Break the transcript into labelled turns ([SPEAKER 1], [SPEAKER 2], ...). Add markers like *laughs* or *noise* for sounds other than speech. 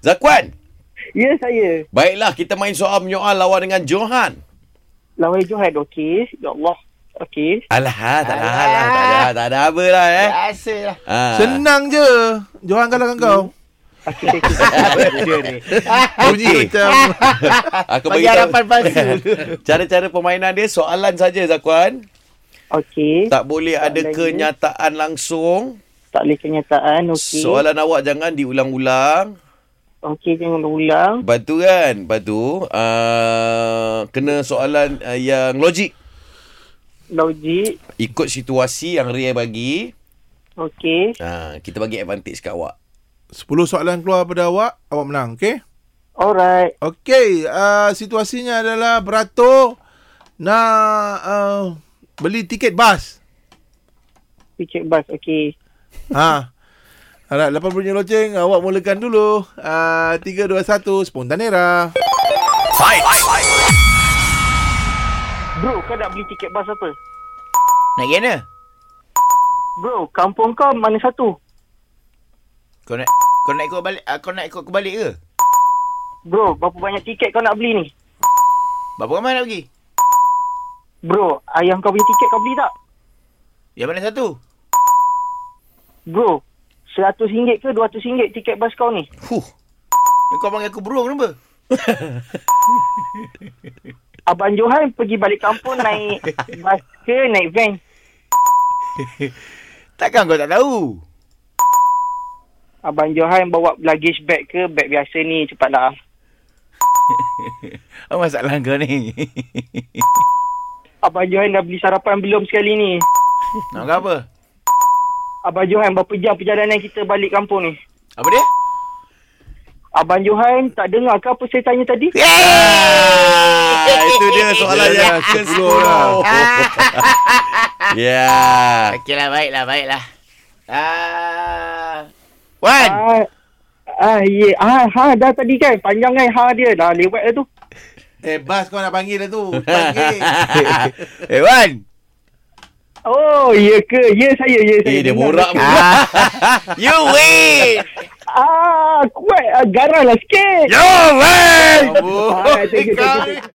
[SPEAKER 1] Zakwan.
[SPEAKER 2] Ya saya.
[SPEAKER 1] Baiklah, kita main soal menyoal lawan dengan Johan.
[SPEAKER 2] Lawan Johan. Okey. Ya Allah. Okey.
[SPEAKER 1] Alah, tak ada hal lah.
[SPEAKER 3] Alah.
[SPEAKER 1] Tak ada, tak ada apa lah eh.
[SPEAKER 3] Biasalah.
[SPEAKER 1] Ha.
[SPEAKER 4] Senang je. Johan kalahkan kau.
[SPEAKER 2] Okey saya *laughs* cuba. Dia ni.
[SPEAKER 4] Bunyi
[SPEAKER 1] Hmm. Okey. Ah.
[SPEAKER 4] macam
[SPEAKER 1] Aku
[SPEAKER 3] Bagi
[SPEAKER 1] beritahu-
[SPEAKER 3] harapan palsu.
[SPEAKER 1] *laughs* Cara-cara permainan dia soalan saja Zakwan.
[SPEAKER 2] Okey.
[SPEAKER 1] Tak
[SPEAKER 2] Tak.
[SPEAKER 1] boleh ada
[SPEAKER 2] Soalan dia.
[SPEAKER 1] kenyataan langsung.
[SPEAKER 2] tak boleh kenyataan. Okey.
[SPEAKER 1] Soalan awak jangan diulang-ulang.
[SPEAKER 2] Okey jangan ulang.
[SPEAKER 1] Lepas tu kan, lepas tu uh, kena soalan uh, yang logik.
[SPEAKER 2] Logik.
[SPEAKER 1] Ikut situasi yang Ria bagi.
[SPEAKER 2] Okey.
[SPEAKER 1] Uh, kita bagi advantage kat awak.
[SPEAKER 4] 10 soalan keluar pada awak, awak menang, okey?
[SPEAKER 2] Alright.
[SPEAKER 4] Okey, uh, situasinya adalah beratur nak uh, beli tiket bas.
[SPEAKER 2] Tiket bas. Okey.
[SPEAKER 4] Ha. Alright, lepas bunyi loceng, awak mulakan dulu. Uh, 3, 2, 1, spontanera.
[SPEAKER 2] Bro, kau nak beli tiket bas apa?
[SPEAKER 3] Nak pergi mana?
[SPEAKER 2] Bro, kampung kau mana satu?
[SPEAKER 3] Kau nak kau nak ikut balik ah, kau nak ikut aku balik ke?
[SPEAKER 2] Bro, berapa banyak tiket kau nak beli ni?
[SPEAKER 3] Berapa ramai nak pergi?
[SPEAKER 2] Bro, ayah kau punya tiket kau beli tak?
[SPEAKER 3] Yang mana satu?
[SPEAKER 2] Bro, RM100 ke RM200 tiket bas kau ni?
[SPEAKER 1] Huh.
[SPEAKER 3] Yang Kau panggil aku bro kenapa?
[SPEAKER 2] Abang Johan pergi balik kampung *laughs* naik bas ke naik van?
[SPEAKER 3] Takkan kau tak tahu? *laughs*
[SPEAKER 2] Abang Johan bawa luggage bag ke bag biasa ni cepatlah.
[SPEAKER 3] Apa masalah kau ni? *laughs*
[SPEAKER 2] Abang Johan dah beli sarapan belum sekali ni?
[SPEAKER 3] nak kau apa?
[SPEAKER 2] Abang Johan berapa jam perjalanan kita balik kampung ni?
[SPEAKER 3] Apa dia?
[SPEAKER 2] Abang Johan tak dengar ke apa saya tanya tadi?
[SPEAKER 1] Ah, Ya, itu dia soalan
[SPEAKER 3] Ya,
[SPEAKER 4] Dia
[SPEAKER 1] yang
[SPEAKER 4] dah
[SPEAKER 1] ke Ah. 10.
[SPEAKER 4] 10 lah.
[SPEAKER 1] Ya. Yeah.
[SPEAKER 3] Okeylah baiklah baiklah. Ah. Wan.
[SPEAKER 2] Ah, ah, ye, ah, ha, dah tadi kan panjang kan ha dia dah lewat dah tu.
[SPEAKER 4] Eh, bas kau nak panggil dah tu.
[SPEAKER 1] *laughs*
[SPEAKER 4] Panggil.
[SPEAKER 3] *laughs* eh Wan.
[SPEAKER 2] Oh, ya ke? Ya saya, ya saya.
[SPEAKER 1] Eh, dia
[SPEAKER 2] Dengar.
[SPEAKER 1] borak pula.
[SPEAKER 3] Ah. *laughs* you
[SPEAKER 1] *laughs*
[SPEAKER 3] win.
[SPEAKER 2] Ah, kuat ah, garang lah sikit.
[SPEAKER 3] You win.
[SPEAKER 4] Amboi.
[SPEAKER 2] Ah, thank you, thank you,
[SPEAKER 3] Kau
[SPEAKER 2] thank
[SPEAKER 3] ni.
[SPEAKER 2] you.